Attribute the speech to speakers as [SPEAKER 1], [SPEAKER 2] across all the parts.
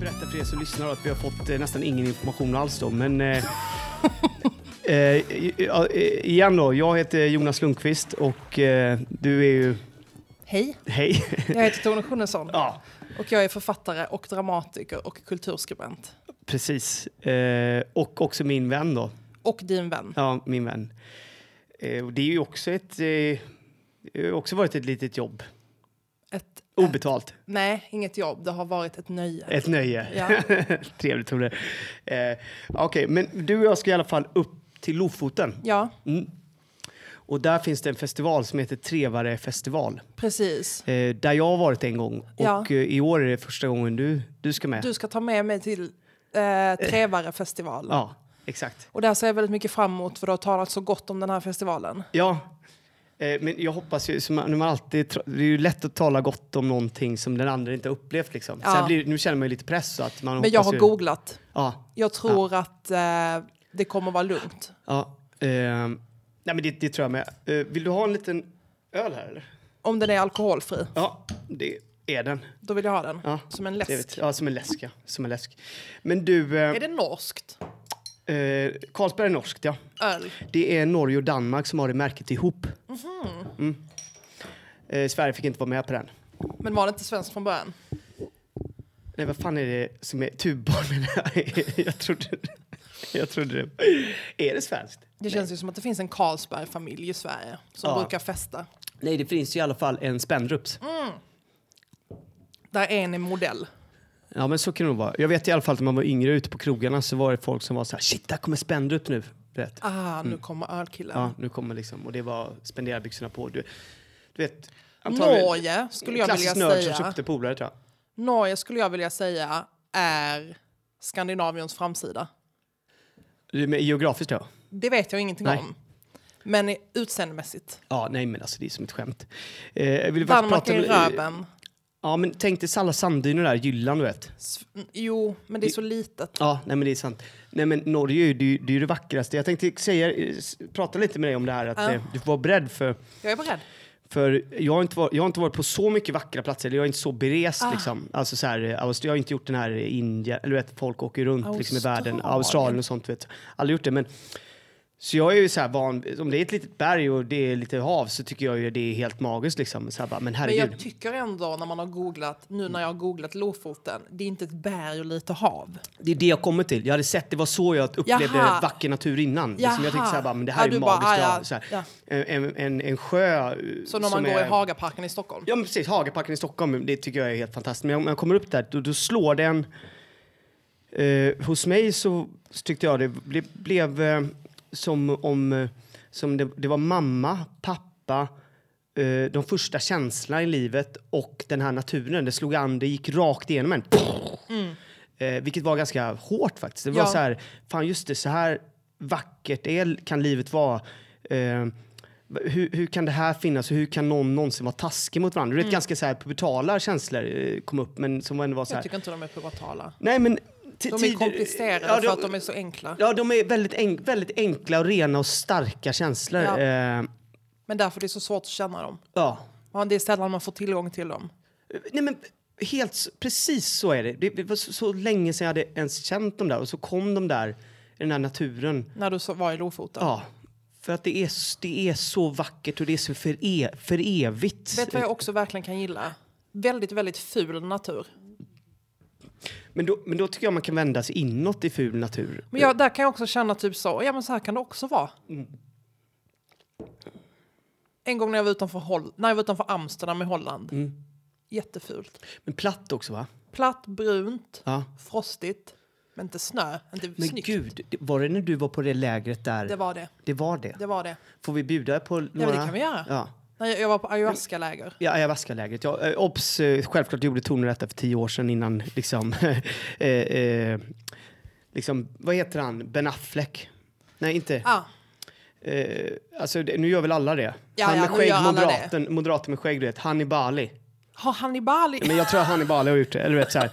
[SPEAKER 1] berätta för er som lyssnar att vi har fått eh, nästan ingen information alls då, men eh, eh, ja, eh, igen då, jag heter Jonas Lundqvist och eh, du är ju,
[SPEAKER 2] Hej,
[SPEAKER 1] hej,
[SPEAKER 2] jag heter Tone Schunnesson
[SPEAKER 1] ja
[SPEAKER 2] och jag är författare och dramatiker och kulturskribent.
[SPEAKER 1] precis, eh, och också min vän då,
[SPEAKER 2] Och din vän.
[SPEAKER 1] ja min vän. Eh, och det är ju också ett, eh, det har ju också varit ett litet jobb,
[SPEAKER 2] Ett,
[SPEAKER 1] obetalt,
[SPEAKER 2] nej, inget jobb. Det har varit ett nöje.
[SPEAKER 1] ett nöje.
[SPEAKER 2] Ja.
[SPEAKER 1] Trevligt Tore. Eh, Okej, men du och jag ska i alla fall upp till Lofoten.
[SPEAKER 2] ja,
[SPEAKER 1] Mm. Och där finns det en festival som heter Trevare festival.
[SPEAKER 2] precis.
[SPEAKER 1] Eh, där jag har varit en gång
[SPEAKER 2] Ja.
[SPEAKER 1] och eh, i år är det första gången du, du ska med.
[SPEAKER 2] Du ska ta med mig till eh, Trevarefestivalen.
[SPEAKER 1] Ja, exakt.
[SPEAKER 2] Och där ser jag väldigt mycket fram emot för du har talat så gott om den här festivalen.
[SPEAKER 1] Ja, eh, men jag hoppas ju, som man, när man alltid, tra- det är ju lätt att tala gott om någonting som den andra inte har upplevt liksom.
[SPEAKER 2] Ja.
[SPEAKER 1] Sen blir, nu känner man ju lite press så att man
[SPEAKER 2] Men jag
[SPEAKER 1] hoppas
[SPEAKER 2] har
[SPEAKER 1] ju-
[SPEAKER 2] googlat.
[SPEAKER 1] Ja,
[SPEAKER 2] Jag tror att eh, det kommer vara lugnt.
[SPEAKER 1] ja. ehm, nej men det, det tror jag med. Eh, vill du ha en liten öl här eller?
[SPEAKER 2] Om den är alkoholfri,
[SPEAKER 1] Ja, det är den.
[SPEAKER 2] då vill jag ha den.
[SPEAKER 1] Ja,
[SPEAKER 2] Som en läsk.
[SPEAKER 1] Trevligt. Ja, som en läsk ja. Som en läsk. Men du... eh,
[SPEAKER 2] Är det norskt?
[SPEAKER 1] Eh, Carlsberg är norskt, ja.
[SPEAKER 2] Öl?
[SPEAKER 1] Det är Norge och Danmark som har det märket ihop. Mm. Eh, Sverige fick inte vara med på den.
[SPEAKER 2] Men var det inte svenskt från början?
[SPEAKER 1] Nej, vad fan är det som är tubbanorna? jag, trodde, jag trodde det. Är det svenskt?
[SPEAKER 2] Det känns ju som att det finns en Carlsberg-familj i Sverige som
[SPEAKER 1] Ja.
[SPEAKER 2] brukar festa.
[SPEAKER 1] Nej, det finns ju i alla fall en Spendrups.
[SPEAKER 2] Där en är modell.
[SPEAKER 1] Ja, men så kan det nog vara. Jag vet i alla fall att när man var yngre ute på krogarna så var det folk som var så här, shit, där kommer Spendrup nu. Du Vet.
[SPEAKER 2] Ah, nu kommer ölkillen.
[SPEAKER 1] Mm. Ja, nu kommer liksom, och det var spenderbyxorna på. Du, du vet,
[SPEAKER 2] Norge skulle jag vilja
[SPEAKER 1] Klassisk nörd som
[SPEAKER 2] säga.
[SPEAKER 1] köpte polare, tror jag.
[SPEAKER 2] Norge skulle jag vilja säga är Skandinaviens framsida.
[SPEAKER 1] Du är med Geografiskt, ja.
[SPEAKER 2] Det vet jag ingenting
[SPEAKER 1] Nej.
[SPEAKER 2] om. Men i- utseendemässigt.
[SPEAKER 1] Ja, nej men alltså det är som ett skämt. Eh, jag ville bara
[SPEAKER 2] Danmark är
[SPEAKER 1] prata om-
[SPEAKER 2] röven.
[SPEAKER 1] Ja, men tänk dig alla sanddynor där, Jylland du vet.
[SPEAKER 2] Sv- Jo, men det är så litet.
[SPEAKER 1] Ja, nej men det är sant. Nej men Norge är ju det, är ju- det, är ju det vackraste. Jag tänkte säga, eh, s- prata lite med dig om det här, att
[SPEAKER 2] Ja.
[SPEAKER 1] eh, du får vara beredd för,
[SPEAKER 2] Jag är beredd.
[SPEAKER 1] för jag, har inte varit, jag har inte varit på så mycket vackra platser, eller jag är inte så berest
[SPEAKER 2] Ah.
[SPEAKER 1] liksom. Alltså så här, eh, Aust- jag har inte gjort den här eh, Indien, eller du vet folk åker ju runt liksom, i världen,
[SPEAKER 2] Australien.
[SPEAKER 1] Australien och sånt vet. Aldrig gjort det men så jag är ju så här van, om det är ett litet berg och det är lite hav så tycker jag ju det är helt magiskt liksom. Så här, bara, men
[SPEAKER 2] Men
[SPEAKER 1] herregud.
[SPEAKER 2] jag tycker ändå när man har googlat, nu när jag har googlat Lofoten, det är inte ett berg och lite hav.
[SPEAKER 1] Det är det jag kommer till. Jag hade sett, det var så jag upplevde
[SPEAKER 2] Jaha.
[SPEAKER 1] vacker natur innan. Liksom jag tänkte så här, bara, men det här
[SPEAKER 2] Ja,
[SPEAKER 1] är ju
[SPEAKER 2] du bara,
[SPEAKER 1] magiskt.
[SPEAKER 2] ah,
[SPEAKER 1] Bara,
[SPEAKER 2] ja,
[SPEAKER 1] så här.
[SPEAKER 2] ja.
[SPEAKER 1] En, en, en sjö eh,
[SPEAKER 2] Så när man
[SPEAKER 1] som
[SPEAKER 2] går
[SPEAKER 1] är,
[SPEAKER 2] i Hagaparken i Stockholm.
[SPEAKER 1] Ja, men precis. Hagaparken i Stockholm, det tycker jag är helt fantastiskt. Men om jag kommer upp där, då, då slår den... Eh, hos mig så, så tyckte jag det ble, blev eh, som om... Eh, som det, det var mamma, pappa, eh, de första känslorna i livet och den här naturen. Det slog an, det gick rakt igenom en. Eh, vilket var ganska hårt faktiskt. Det var
[SPEAKER 2] Mm. Ja.
[SPEAKER 1] så här, fan just det, så här vackert det är, kan livet vara. Eh, hur, hur kan det här finnas och hur kan någon någonsin vara taskig mot varandra? Det är
[SPEAKER 2] Mm.
[SPEAKER 1] ett ganska så här pubertala känslor eh, kom upp men som ändå var så
[SPEAKER 2] Jag
[SPEAKER 1] här.
[SPEAKER 2] tycker inte de är pubertala.
[SPEAKER 1] Nej men... ti-
[SPEAKER 2] De är
[SPEAKER 1] tid-
[SPEAKER 2] komplicerade
[SPEAKER 1] ja,
[SPEAKER 2] för att de är så enkla.
[SPEAKER 1] Ja, de är väldigt, enk, väldigt enkla och rena och starka känslor.
[SPEAKER 2] Ja.
[SPEAKER 1] Eh,
[SPEAKER 2] Men därför är det så svårt att känna dem.
[SPEAKER 1] ja.
[SPEAKER 2] Ja, Det är sällan man får tillgång till dem.
[SPEAKER 1] Nej men helt, s- precis så är det. det. Det var så, så länge sedan jag hade ens känt dem där och så kom de där i den här naturen.
[SPEAKER 2] När du så var i Lofoten.
[SPEAKER 1] Ja, för att det är, det är så vackert och det är så för, e, för evigt.
[SPEAKER 2] Vet du vad jag också verkligen kan gilla? Väldigt, väldigt ful natur.
[SPEAKER 1] Men, då, men då tycker jag man kan vända sig inåt i ful natur.
[SPEAKER 2] Men jag, där kan jag också känna typ så, ja men så här kan det också vara.
[SPEAKER 1] Mm.
[SPEAKER 2] En gång när jag var utanför, Hol- när jag var utanför Amsterdam i Holland.
[SPEAKER 1] Mm.
[SPEAKER 2] Jättefult.
[SPEAKER 1] Men platt också va?
[SPEAKER 2] Platt, brunt,
[SPEAKER 1] Ja.
[SPEAKER 2] frostigt, men inte snö. Inte
[SPEAKER 1] Men
[SPEAKER 2] snyggt.
[SPEAKER 1] gud, det- var det när du var på det lägret där?
[SPEAKER 2] Det var det.
[SPEAKER 1] Det var det.
[SPEAKER 2] Det var det.
[SPEAKER 1] Får vi bjuda på några?
[SPEAKER 2] Ja, men det kan vi göra.
[SPEAKER 1] Ja.
[SPEAKER 2] När jag, jag var på ayahuasca-läger.
[SPEAKER 1] Ja, ayahuasca-lägret. Ja, eh, obs, eh, självklart gjorde Tone detta för tio år sedan innan liksom, eh, eh, liksom, vad heter han, Ben Affleck? Nej, inte.
[SPEAKER 2] Ah,
[SPEAKER 1] Eh, alltså, det- nu gör väl alla det?
[SPEAKER 2] Ja,
[SPEAKER 1] han
[SPEAKER 2] ja,
[SPEAKER 1] med
[SPEAKER 2] nu
[SPEAKER 1] skägg,
[SPEAKER 2] gör alla det.
[SPEAKER 1] moderaten, moderaten med skägg, du vet, han i Bali.
[SPEAKER 2] har Hannibali...
[SPEAKER 1] Men jag tror att han i Bali har gjort det. Eller du vet, så här.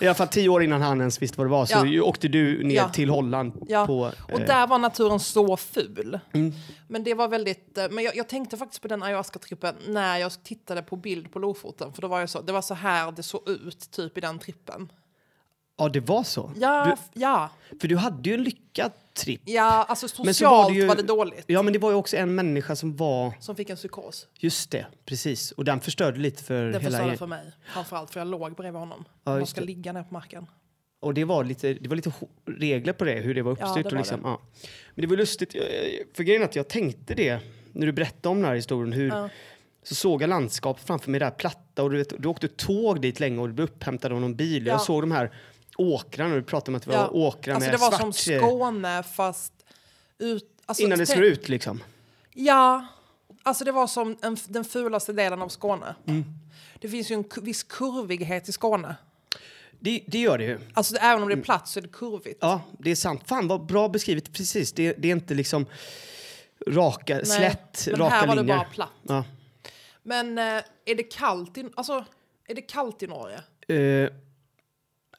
[SPEAKER 1] I alla fall tio år innan han ens visste vad det var så
[SPEAKER 2] Ja.
[SPEAKER 1] ju- åkte du ner
[SPEAKER 2] Ja.
[SPEAKER 1] till Holland
[SPEAKER 2] Ja,
[SPEAKER 1] på...
[SPEAKER 2] och
[SPEAKER 1] eh, Mm.
[SPEAKER 2] där var naturen så ful. Men det var väldigt... eh, Men jag, jag tänkte faktiskt på den ayahuasca-trippen när jag tittade på bild på Lofoten. För då var jag så, det var så här det såg ut typ i den trippen.
[SPEAKER 1] Ja, det var så.
[SPEAKER 2] Ja,
[SPEAKER 1] Du-
[SPEAKER 2] f- ja,
[SPEAKER 1] För du hade ju en lyckad tripp.
[SPEAKER 2] ja, alltså
[SPEAKER 1] Men
[SPEAKER 2] socialt
[SPEAKER 1] så var
[SPEAKER 2] var
[SPEAKER 1] det
[SPEAKER 2] det,
[SPEAKER 1] ju-
[SPEAKER 2] dåligt.
[SPEAKER 1] Ja, men det var ju också en människa som var...
[SPEAKER 2] Som fick en psykos.
[SPEAKER 1] Just det, precis. Och den förstörde lite för
[SPEAKER 2] Det
[SPEAKER 1] hela...
[SPEAKER 2] förstörde för mig, framförallt för jag låg bredvid honom.
[SPEAKER 1] Ja,
[SPEAKER 2] Man
[SPEAKER 1] just
[SPEAKER 2] ska
[SPEAKER 1] det.
[SPEAKER 2] ligga ner på marken.
[SPEAKER 1] Och det var lite, det var lite ho- regler på det, hur det var
[SPEAKER 2] det
[SPEAKER 1] uppstyrt. och
[SPEAKER 2] var
[SPEAKER 1] liksom, Ja. Men det var lustigt, jag- för grejen är att jag tänkte det när du berättade om den här historien. Hur,
[SPEAKER 2] Ja.
[SPEAKER 1] Så såg jag landskapet framför mig, där platta. Och du, vet, du åkte tåg dit länge och du blev upphämtad av någon bil.
[SPEAKER 2] Ja.
[SPEAKER 1] Jag såg de här åkrarna, och du pratade om att det var
[SPEAKER 2] Ja.
[SPEAKER 1] åkrar
[SPEAKER 2] Alltså det
[SPEAKER 1] med
[SPEAKER 2] var
[SPEAKER 1] svart...
[SPEAKER 2] som
[SPEAKER 1] eh,
[SPEAKER 2] Skåne fast ut... Alltså,
[SPEAKER 1] Innan det
[SPEAKER 2] tänk-
[SPEAKER 1] slår ut liksom.
[SPEAKER 2] Ja. Alltså det var som en, f- den fulaste delen av Skåne. Det finns ju en ku- viss kurvighet i Skåne.
[SPEAKER 1] Det, det gör det ju.
[SPEAKER 2] Alltså även om det är platt så är det kurvigt.
[SPEAKER 1] Ja, det är sant. Fan vad bra beskrivet, precis. Det, det är inte liksom raka,
[SPEAKER 2] Nej,
[SPEAKER 1] slätt,
[SPEAKER 2] men
[SPEAKER 1] raka
[SPEAKER 2] här var
[SPEAKER 1] linjer.
[SPEAKER 2] det bara platt.
[SPEAKER 1] Ja.
[SPEAKER 2] Men eh, är det kallt i, alltså, är det kallt i Norge?
[SPEAKER 1] Eh,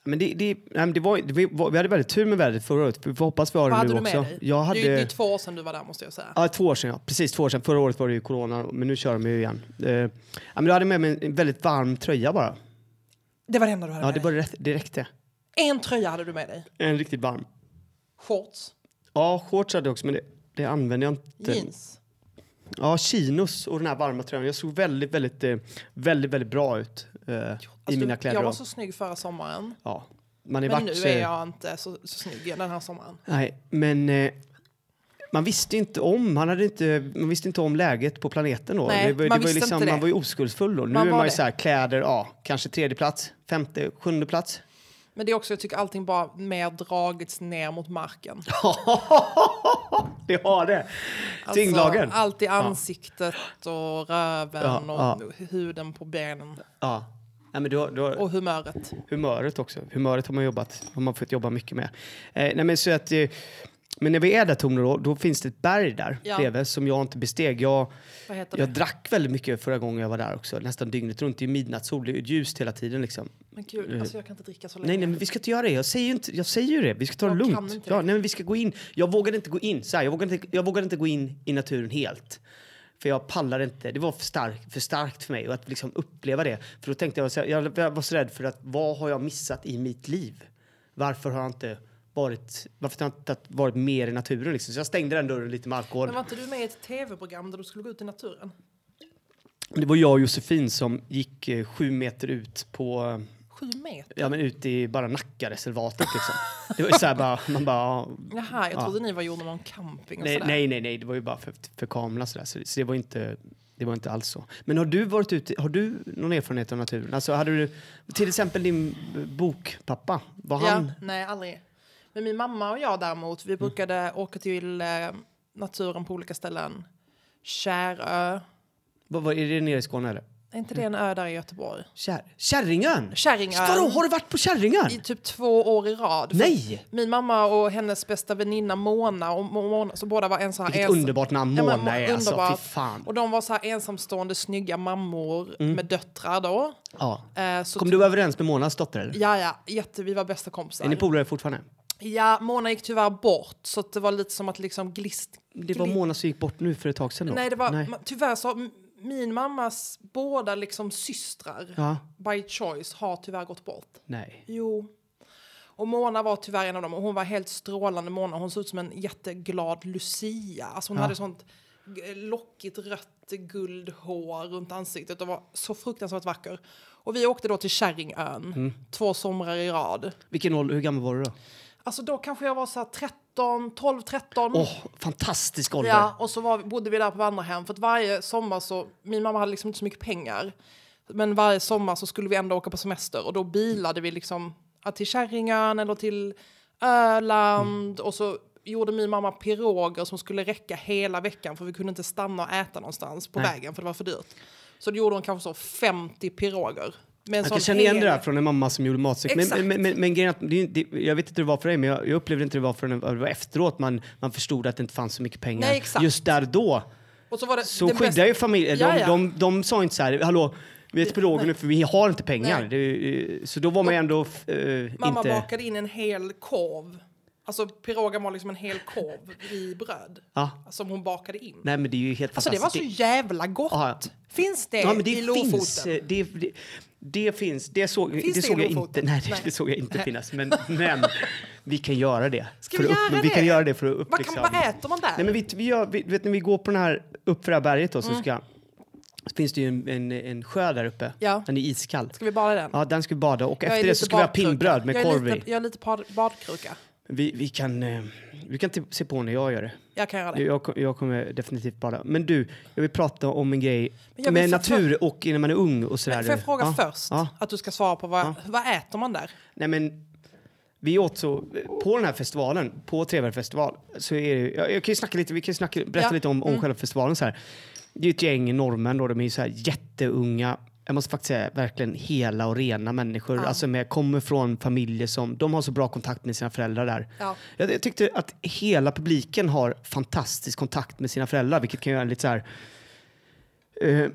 [SPEAKER 1] men det, det, nej, men det var, det vi var, vi hade väldigt tur med vädret förra året. Vi får hoppas vi har
[SPEAKER 2] Vad
[SPEAKER 1] det
[SPEAKER 2] hade
[SPEAKER 1] nu
[SPEAKER 2] du
[SPEAKER 1] också.
[SPEAKER 2] med dig?
[SPEAKER 1] Jag hade,
[SPEAKER 2] Det är ju två år sedan du var där måste jag säga.
[SPEAKER 1] ja, två år sedan, ja. precis två år sedan. Förra året var det ju corona, men nu kör de ju igen. Eh, ja, men jag hade med mig en väldigt varm tröja bara.
[SPEAKER 2] Det var det enda du hade
[SPEAKER 1] Ja,
[SPEAKER 2] med
[SPEAKER 1] det,
[SPEAKER 2] dig.
[SPEAKER 1] var rätt, det räckte.
[SPEAKER 2] En tröja hade du med dig.
[SPEAKER 1] En riktigt varm.
[SPEAKER 2] Shorts,
[SPEAKER 1] Ja, shorts hade jag också, men det, det använde jag inte.
[SPEAKER 2] jeans.
[SPEAKER 1] Ja, chinos och den här varma tröjan. Jag såg väldigt, väldigt, eh, väldigt, väldigt bra ut eh, i
[SPEAKER 2] Alltså,
[SPEAKER 1] mina
[SPEAKER 2] du-
[SPEAKER 1] kläder.
[SPEAKER 2] jag var
[SPEAKER 1] då.
[SPEAKER 2] så snygg förra sommaren.
[SPEAKER 1] Ja, man är
[SPEAKER 2] Men
[SPEAKER 1] vart
[SPEAKER 2] nu
[SPEAKER 1] så-
[SPEAKER 2] är jag inte så, så snygg den här sommaren.
[SPEAKER 1] Nej, men eh, man visste ju inte om, han hade inte, man visste inte om läget på planeten då.
[SPEAKER 2] Nej,
[SPEAKER 1] var, ju- var
[SPEAKER 2] man
[SPEAKER 1] ju liksom-
[SPEAKER 2] visste inte det.
[SPEAKER 1] Man var ju oskuldsfull då. Nu
[SPEAKER 2] Man
[SPEAKER 1] är
[SPEAKER 2] var
[SPEAKER 1] man ju
[SPEAKER 2] det.
[SPEAKER 1] så här, kläder, ja, kanske tredje plats, femte, sjunde plats.
[SPEAKER 2] Men det är också, jag tycker allting bara mer dragits ner mot marken.
[SPEAKER 1] det har det.
[SPEAKER 2] Alltså,
[SPEAKER 1] Tyngdlagen.
[SPEAKER 2] Allt i ansiktet och röven
[SPEAKER 1] Ja,
[SPEAKER 2] och huden på benen.
[SPEAKER 1] Ja. Nej, men du har, du har
[SPEAKER 2] Och humöret.
[SPEAKER 1] humöret också. Humöret har man jobbat, har man fått jobba mycket med. Eh, nej, men så att... Eh, men när vi är där Tornedal, då, då finns det ett berg där
[SPEAKER 2] Ja.
[SPEAKER 1] bredvid som jag inte besteg. Jag,
[SPEAKER 2] Vad heter
[SPEAKER 1] jag
[SPEAKER 2] det?
[SPEAKER 1] drack väldigt mycket förra gången jag var där också, nästan dygnet runt. Det är midnattssol, det är ljust hela tiden liksom.
[SPEAKER 2] Men gud, alltså jag kan inte dricka så länge.
[SPEAKER 1] Nej, nej, men vi ska inte göra det. Jag säger ju, inte, jag säger ju det. Vi ska ta det
[SPEAKER 2] Jag kan
[SPEAKER 1] lugnt.
[SPEAKER 2] inte det.
[SPEAKER 1] Ja, nej, men vi ska gå in. Jag vågade inte gå in. Så här, jag, vågade inte, jag vågade inte gå in i naturen helt. För jag pallade inte. Det var för, stark, för starkt för mig och att liksom uppleva det. För då tänkte jag, så här, jag, jag var så rädd för att vad har jag missat i mitt liv? Varför har jag inte varit, varför har jag inte varit mer i naturen? Liksom? Så jag stängde den dörren lite med alkohol.
[SPEAKER 2] Men var inte du med i ett tv-program där du skulle gå ut i naturen?
[SPEAKER 1] Det var jag och Josefin som gick eh, sju meter ut på eh,
[SPEAKER 2] Sju meter?
[SPEAKER 1] Ja men ute i bara Nackareservatet liksom. Det var ju såhär bara, man bara, ja,
[SPEAKER 2] Jaha, jag
[SPEAKER 1] Ja.
[SPEAKER 2] trodde ni var gjorda någon camping och
[SPEAKER 1] Nej,
[SPEAKER 2] sådär.
[SPEAKER 1] nej, nej, nej, det var ju bara för, för kameran sådär. Så, så det var inte... Det var inte alls så. Men har du varit ute, har du någon erfarenhet av naturen? Alltså hade du, till exempel din bokpappa, var han... Mm.
[SPEAKER 2] Ja, nej, aldrig. Men min mamma och jag däremot, vi brukade åka till eh, naturen på olika ställen. Kärö.
[SPEAKER 1] Vad, vad, är det nere i Skåne eller?
[SPEAKER 2] Är inte det en ö där i Göteborg?
[SPEAKER 1] Kär, Kärringön?
[SPEAKER 2] Kärringön.
[SPEAKER 1] Mm. Vadå, har du varit på Kärringön?
[SPEAKER 2] I typ två år i rad. För
[SPEAKER 1] Nej!
[SPEAKER 2] Min mamma och hennes bästa väninna Mona, och Mo- Mona så båda var en sån här
[SPEAKER 1] Vilket
[SPEAKER 2] ens-
[SPEAKER 1] underbart namn
[SPEAKER 2] Ja,
[SPEAKER 1] Mona
[SPEAKER 2] men Mo-
[SPEAKER 1] är alltså, fy
[SPEAKER 2] underbart.
[SPEAKER 1] fan.
[SPEAKER 2] Och de var så här ensamstående snygga mammor med döttrar då.
[SPEAKER 1] Ja.
[SPEAKER 2] Eh,
[SPEAKER 1] Mm.
[SPEAKER 2] så
[SPEAKER 1] Kom du överens med Monas dotter eller?
[SPEAKER 2] Ja, ja, jätte, vi var bästa kompisar.
[SPEAKER 1] Är ni polare fortfarande?
[SPEAKER 2] Ja, Mona gick tyvärr bort så att det var lite som att liksom glist...
[SPEAKER 1] Det var
[SPEAKER 2] gli-
[SPEAKER 1] Mona som gick bort nu för ett tag sedan då?
[SPEAKER 2] Nej, det var, ma- tyvärr så har m- min mammas båda liksom systrar
[SPEAKER 1] Ja.
[SPEAKER 2] by choice har tyvärr gått bort.
[SPEAKER 1] Nej.
[SPEAKER 2] Jo. Och Mona var tyvärr en av dem och hon var helt strålande Mona. Hon såg ut som en jätteglad Lucia. Alltså hon hade sånt g- lockigt rött guldhår runt ansiktet och var så fruktansvärt vacker. Och vi åkte då till Kärringön två somrar i rad.
[SPEAKER 1] Vilken ålder, hur gammal var du då?
[SPEAKER 2] Alltså då kanske jag var så här 13, 12, 13.
[SPEAKER 1] Åh, fantastisk ålder!
[SPEAKER 2] Ja, och så var, vi- bodde vi där på vandrarhem. För att varje sommar så, min mamma hade liksom inte så mycket pengar. Men varje sommar så skulle vi ändå åka på semester och då bilade vi liksom ja, till Kärringön eller till Öland. Och så gjorde min mamma piroger som skulle räcka hela veckan för vi kunde inte stanna och äta någonstans på vägen för det var för dyrt. Så då gjorde hon kanske så 50 piroger. Med en
[SPEAKER 1] Jag
[SPEAKER 2] sån
[SPEAKER 1] kan känna igen
[SPEAKER 2] hel-
[SPEAKER 1] det där från en mamma som gjorde matsäck. Men,
[SPEAKER 2] Exakt.
[SPEAKER 1] men, men, men, grejen är att, det, är ju- det, jag vet inte hur det var för dig, men jag, jag upplevde inte hur det var förrän det var efteråt man, man förstod att det inte fanns så mycket pengar.
[SPEAKER 2] Nej, exakt.
[SPEAKER 1] Just där då
[SPEAKER 2] Och så var det
[SPEAKER 1] så
[SPEAKER 2] den bästa-
[SPEAKER 1] skyddade ju familjen. De,
[SPEAKER 2] Ja, ja.
[SPEAKER 1] de, de, sa inte så här, hallå, vi äter piroger nu för vi har inte pengar.
[SPEAKER 2] Nej.
[SPEAKER 1] Det, är ju- så då var man ju ändå eh,
[SPEAKER 2] Mamma
[SPEAKER 1] inte...
[SPEAKER 2] bakade in en hel korv. Alltså pirogan var liksom en hel korv i bröd
[SPEAKER 1] Ja.
[SPEAKER 2] som hon bakade in.
[SPEAKER 1] Nej, men det är ju helt
[SPEAKER 2] Alltså det var så
[SPEAKER 1] fantastiskt.
[SPEAKER 2] jävla gott.
[SPEAKER 1] Ja, ja.
[SPEAKER 2] Finns det,
[SPEAKER 1] Ja, men det
[SPEAKER 2] Eh, i
[SPEAKER 1] finns.
[SPEAKER 2] Lofoten?
[SPEAKER 1] eh, Det, det, det finns. Det såg,
[SPEAKER 2] Finns
[SPEAKER 1] det
[SPEAKER 2] det i
[SPEAKER 1] såg jag
[SPEAKER 2] Lofoten?
[SPEAKER 1] inte. Nej, det,
[SPEAKER 2] Nej.
[SPEAKER 1] det såg jag inte finnas. Men, men vi kan göra det.
[SPEAKER 2] Ska
[SPEAKER 1] För
[SPEAKER 2] vi
[SPEAKER 1] att
[SPEAKER 2] göra
[SPEAKER 1] Vi
[SPEAKER 2] det?
[SPEAKER 1] kan göra det för att upp,
[SPEAKER 2] Vad, kan,
[SPEAKER 1] liksom-
[SPEAKER 2] vad äter man där?
[SPEAKER 1] Nej, men vi, vi, gör, vi, vet, när vi går på den här, upp för det här berget då, så,
[SPEAKER 2] Mm.
[SPEAKER 1] ska, så finns det ju en, en, en sjö där uppe.
[SPEAKER 2] Ja.
[SPEAKER 1] Den är iskall.
[SPEAKER 2] Ska vi bada i den?
[SPEAKER 1] Ja, den ska vi bada och
[SPEAKER 2] Jag är
[SPEAKER 1] efter det
[SPEAKER 2] lite
[SPEAKER 1] så ska vi ha
[SPEAKER 2] badkruka.
[SPEAKER 1] pinnbröd med
[SPEAKER 2] jag
[SPEAKER 1] korv
[SPEAKER 2] Är
[SPEAKER 1] i.
[SPEAKER 2] lite, jag är lite bad, badkruka.
[SPEAKER 1] Vi, vi kan, eh, vi kan typ se på när jag gör det.
[SPEAKER 2] Jag kan göra det.
[SPEAKER 1] Jag, kom- jag kommer definitivt bada. Men du, jag vill prata om en grej
[SPEAKER 2] Men jag vill
[SPEAKER 1] med
[SPEAKER 2] få-
[SPEAKER 1] natur och när man är ung och sådär.
[SPEAKER 2] Får jag fråga
[SPEAKER 1] Ja.
[SPEAKER 2] först?
[SPEAKER 1] Ja.
[SPEAKER 2] Att du ska svara på vad, vad äter man där?
[SPEAKER 1] Nej men, vi åt så, på den här festivalen, på Trevarefestival, så är det, jag, jag kan ju snacka lite, vi kan ju snacka, berätta
[SPEAKER 2] Ja.
[SPEAKER 1] lite om, om själva festivalen så här. Det är ju ett gäng norrmän då, de är ju så här jätteunga, jag måste faktiskt säga verkligen hela och rena människor, alltså med, kommer från familjer som, de har så bra kontakt med sina föräldrar där.
[SPEAKER 2] Ja.
[SPEAKER 1] Jag, jag tyckte att hela publiken har fantastisk kontakt med sina föräldrar, vilket kan göra en lite så här, Eh,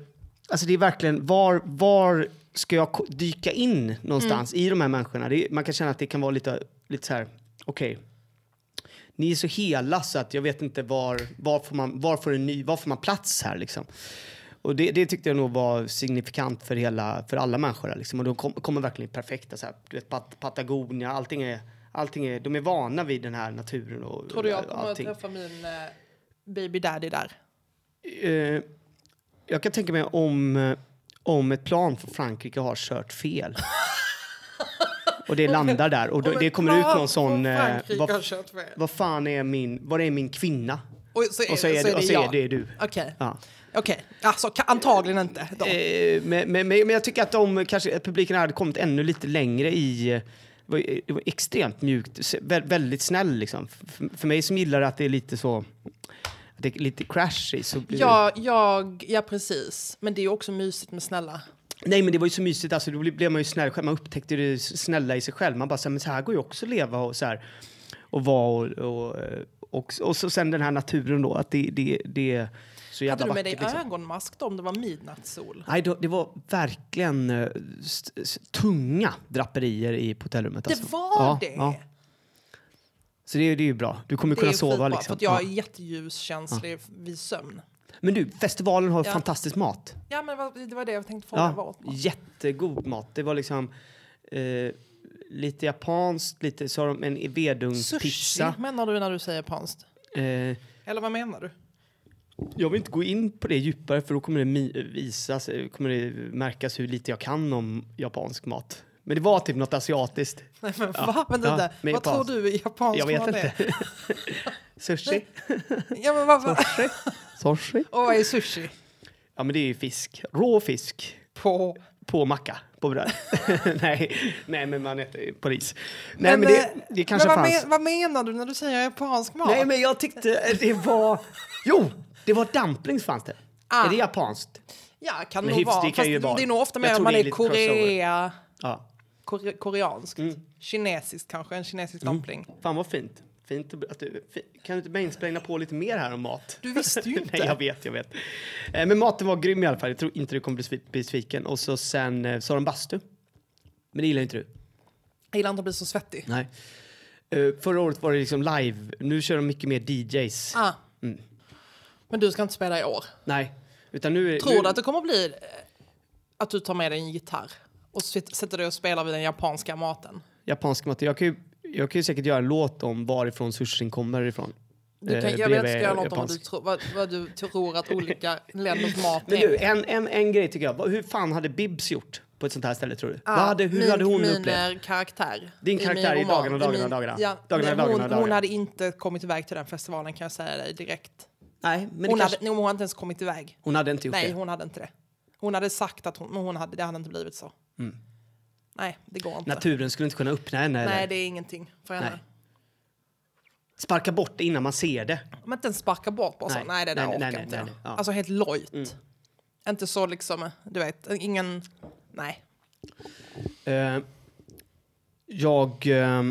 [SPEAKER 1] alltså det är verkligen, var, var ska jag ko- dyka in någonstans
[SPEAKER 2] Mm.
[SPEAKER 1] i de här människorna? Det, är- man kan känna att det kan vara lite, lite så här, okej. Ni är så hela så att jag vet inte var, var, får, man, var, får, en ny, var får man plats här liksom. Och det, det tyckte jag nog var signifikant för, hela, för alla människor. här, Liksom. Och de kom, kommer verkligen perfekta. Så här, du vet, Pat- Patagonia, allting är, allting är... De är vana vid den här naturen och
[SPEAKER 2] Tror du jag
[SPEAKER 1] och
[SPEAKER 2] kommer att
[SPEAKER 1] allting.
[SPEAKER 2] träffa min eh, baby daddy där?
[SPEAKER 1] Eh, jag kan tänka mig om, eh, om ett plan från Frankrike har kört fel. och det landar där och då, det kommer ut någon sån... eh,
[SPEAKER 2] Vad
[SPEAKER 1] vad, vad fan är min... Vad är min kvinna?
[SPEAKER 2] och så är,
[SPEAKER 1] Och så är, det, och så är
[SPEAKER 2] jag.
[SPEAKER 1] det du.
[SPEAKER 2] Okej.
[SPEAKER 1] Ja.
[SPEAKER 2] Okej. Alltså ka- antagligen inte. Då.
[SPEAKER 1] Eh, men, men, men men jag tycker att de, kanske, att publiken hade kommit ännu lite längre i... eh, Det var, det var extremt mjukt, se- vä- väldigt snäll liksom. F- För mig som gillar att det är lite så... Att det är lite crash i så blir det-
[SPEAKER 2] Ja, jag, ja, precis. Men det är ju också mysigt med snälla.
[SPEAKER 1] Nej men det var ju så mysigt, alltså, då blev man ju snäll själv. Man upptäckte det snälla i sig själv. Man bara så här, men så här går ju också att leva och så här. Och vara och... Och, eh, och, och så sen den här naturen då, att det, det, det är så jävla
[SPEAKER 2] Hade du med dig
[SPEAKER 1] vackert. Liksom.
[SPEAKER 2] ögonmask då om det var midnattssol?
[SPEAKER 1] Nej, då, det var verkligen eh, st- s- tunga draperier i på hotellrummet.
[SPEAKER 2] Det
[SPEAKER 1] alltså.
[SPEAKER 2] var
[SPEAKER 1] Ja,
[SPEAKER 2] det!
[SPEAKER 1] ja. Så det, det är ju bra. Du kommer
[SPEAKER 2] Det är
[SPEAKER 1] kunna
[SPEAKER 2] ju
[SPEAKER 1] sova
[SPEAKER 2] skitbra, för
[SPEAKER 1] liksom.
[SPEAKER 2] att jag är
[SPEAKER 1] Ja.
[SPEAKER 2] jätteljuskänslig vid sömn.
[SPEAKER 1] Men du, festivalen har
[SPEAKER 2] Ja.
[SPEAKER 1] fantastisk mat.
[SPEAKER 2] Ja, men vad- det var det jag tänkte fråga.
[SPEAKER 1] Ja,
[SPEAKER 2] Ja.
[SPEAKER 1] jättegod mat. Det var liksom eh, lite japanskt, lite så har de en
[SPEAKER 2] Sushi
[SPEAKER 1] vedugnspizza.
[SPEAKER 2] menar du när du säger japanskt?
[SPEAKER 1] Eh,
[SPEAKER 2] Eller vad menar du?
[SPEAKER 1] jag vill inte gå in på det djupare för då kommer det mi- visas, eh, kommer det märkas hur lite jag kan om japansk mat. Men det var typ något asiatiskt.
[SPEAKER 2] Nej, men va? Men det
[SPEAKER 1] ja,
[SPEAKER 2] där,
[SPEAKER 1] med
[SPEAKER 2] vad tror
[SPEAKER 1] japanskt.
[SPEAKER 2] du är japanskt?
[SPEAKER 1] Jag vet
[SPEAKER 2] mat är?
[SPEAKER 1] inte. Sushi.
[SPEAKER 2] Ja, men vad, vad?
[SPEAKER 1] Sushi. Sushi.
[SPEAKER 2] Och vad är sushi?
[SPEAKER 1] Ja men det är ju fisk. Rå fisk.
[SPEAKER 2] På...
[SPEAKER 1] På macka. På bröd. nej, nej men man äter på ris. Nej
[SPEAKER 2] Men,
[SPEAKER 1] men, det,
[SPEAKER 2] eh,
[SPEAKER 1] det kanske
[SPEAKER 2] men vad,
[SPEAKER 1] fanns.
[SPEAKER 2] men- vad menar du när du säger japansk mat?
[SPEAKER 1] Nej, men jag tyckte det var... Jo, det var dumplings fanns det.
[SPEAKER 2] Ah.
[SPEAKER 1] Är det japanskt?
[SPEAKER 2] Ja, kan
[SPEAKER 1] Men
[SPEAKER 2] nog
[SPEAKER 1] hyfs,
[SPEAKER 2] vara.
[SPEAKER 1] det
[SPEAKER 2] Det,
[SPEAKER 1] kan ju
[SPEAKER 2] Fast
[SPEAKER 1] vara.
[SPEAKER 2] det är nog ofta mer
[SPEAKER 1] Jag
[SPEAKER 2] om
[SPEAKER 1] tror
[SPEAKER 2] man
[SPEAKER 1] det är
[SPEAKER 2] är
[SPEAKER 1] lite crossover.
[SPEAKER 2] Korea,
[SPEAKER 1] Ja.
[SPEAKER 2] kore, koreanskt,
[SPEAKER 1] Mm.
[SPEAKER 2] kinesiskt kanske, en kinesisk dumpling.
[SPEAKER 1] Fan vad fint. Fint och- att du, fi- kan du inte mainsplaina på lite mer här om mat?
[SPEAKER 2] Du visste ju inte.
[SPEAKER 1] Nej, jag vet, jag vet. Eh, Men maten var grym i alla fall. Jag tror inte du kommer bli svi- besviken. Och så sen eh, så har de bastu. Men det gillar ju inte du.
[SPEAKER 2] Jag gillar inte att bli så svettig.
[SPEAKER 1] Nej. Eh, Förra året var det liksom live. Nu kör de mycket mer DJs.
[SPEAKER 2] Ah. Men du ska inte spela i år.
[SPEAKER 1] Nej. Utan nu, är-
[SPEAKER 2] Tror
[SPEAKER 1] nu,
[SPEAKER 2] du att det kommer bli eh, att du tar med dig en gitarr och sit- sätter dig och spelar vid den japanska maten?
[SPEAKER 1] japansk mat. Jag kan, ju, jag kan ju säkert göra en låt om varifrån sushin kommer ifrån.
[SPEAKER 2] Du kan,
[SPEAKER 1] Eh,
[SPEAKER 2] jag vill att du ska
[SPEAKER 1] bredvid
[SPEAKER 2] göra något om vad du,
[SPEAKER 1] japansk.
[SPEAKER 2] tror, vad, vad du tror att olika länders mat
[SPEAKER 1] Men du,
[SPEAKER 2] är.
[SPEAKER 1] en, en, en grej tycker jag. Vad- Hur fan hade Bibs gjort på ett sånt här ställe tror du? Vad hade, hur
[SPEAKER 2] min,
[SPEAKER 1] hade hon
[SPEAKER 2] Ah, min
[SPEAKER 1] upplevt?
[SPEAKER 2] eh, karaktär.
[SPEAKER 1] Din
[SPEAKER 2] i
[SPEAKER 1] karaktär
[SPEAKER 2] min
[SPEAKER 1] i Dagarna,
[SPEAKER 2] roman,
[SPEAKER 1] Dagarna,
[SPEAKER 2] min-
[SPEAKER 1] Dagarna.
[SPEAKER 2] Ja,
[SPEAKER 1] Dagarna,
[SPEAKER 2] nej,
[SPEAKER 1] Dagarna,
[SPEAKER 2] hon, hon
[SPEAKER 1] Dagarna.
[SPEAKER 2] hade inte kommit iväg till den festivalen kan jag säga dig direkt.
[SPEAKER 1] Nej, men
[SPEAKER 2] Hon
[SPEAKER 1] hon, kanske,
[SPEAKER 2] hade, nej, hon hade inte ens kommit iväg.
[SPEAKER 1] hon hade inte gjort
[SPEAKER 2] Nej,
[SPEAKER 1] det.
[SPEAKER 2] hon hade inte det. Hon hade sagt att hon, men hon hade, det hade inte blivit så.
[SPEAKER 1] Mm.
[SPEAKER 2] Nej, det går inte.
[SPEAKER 1] Naturen skulle inte kunna öppna henne.
[SPEAKER 2] nej,
[SPEAKER 1] eller
[SPEAKER 2] det är ingenting för henne.
[SPEAKER 1] Nej. Sparka bort det innan man ser det.
[SPEAKER 2] Men inte ens sparka bort bara nej.
[SPEAKER 1] Nej,
[SPEAKER 2] så. Nej, det
[SPEAKER 1] nej,
[SPEAKER 2] där orkar
[SPEAKER 1] nej, nej,
[SPEAKER 2] inte
[SPEAKER 1] nej,
[SPEAKER 2] jag.
[SPEAKER 1] nej, ja. Mm.
[SPEAKER 2] Alltså helt lojt. Inte så liksom, du vet, ingen... Nej.
[SPEAKER 1] Eh, jag eh,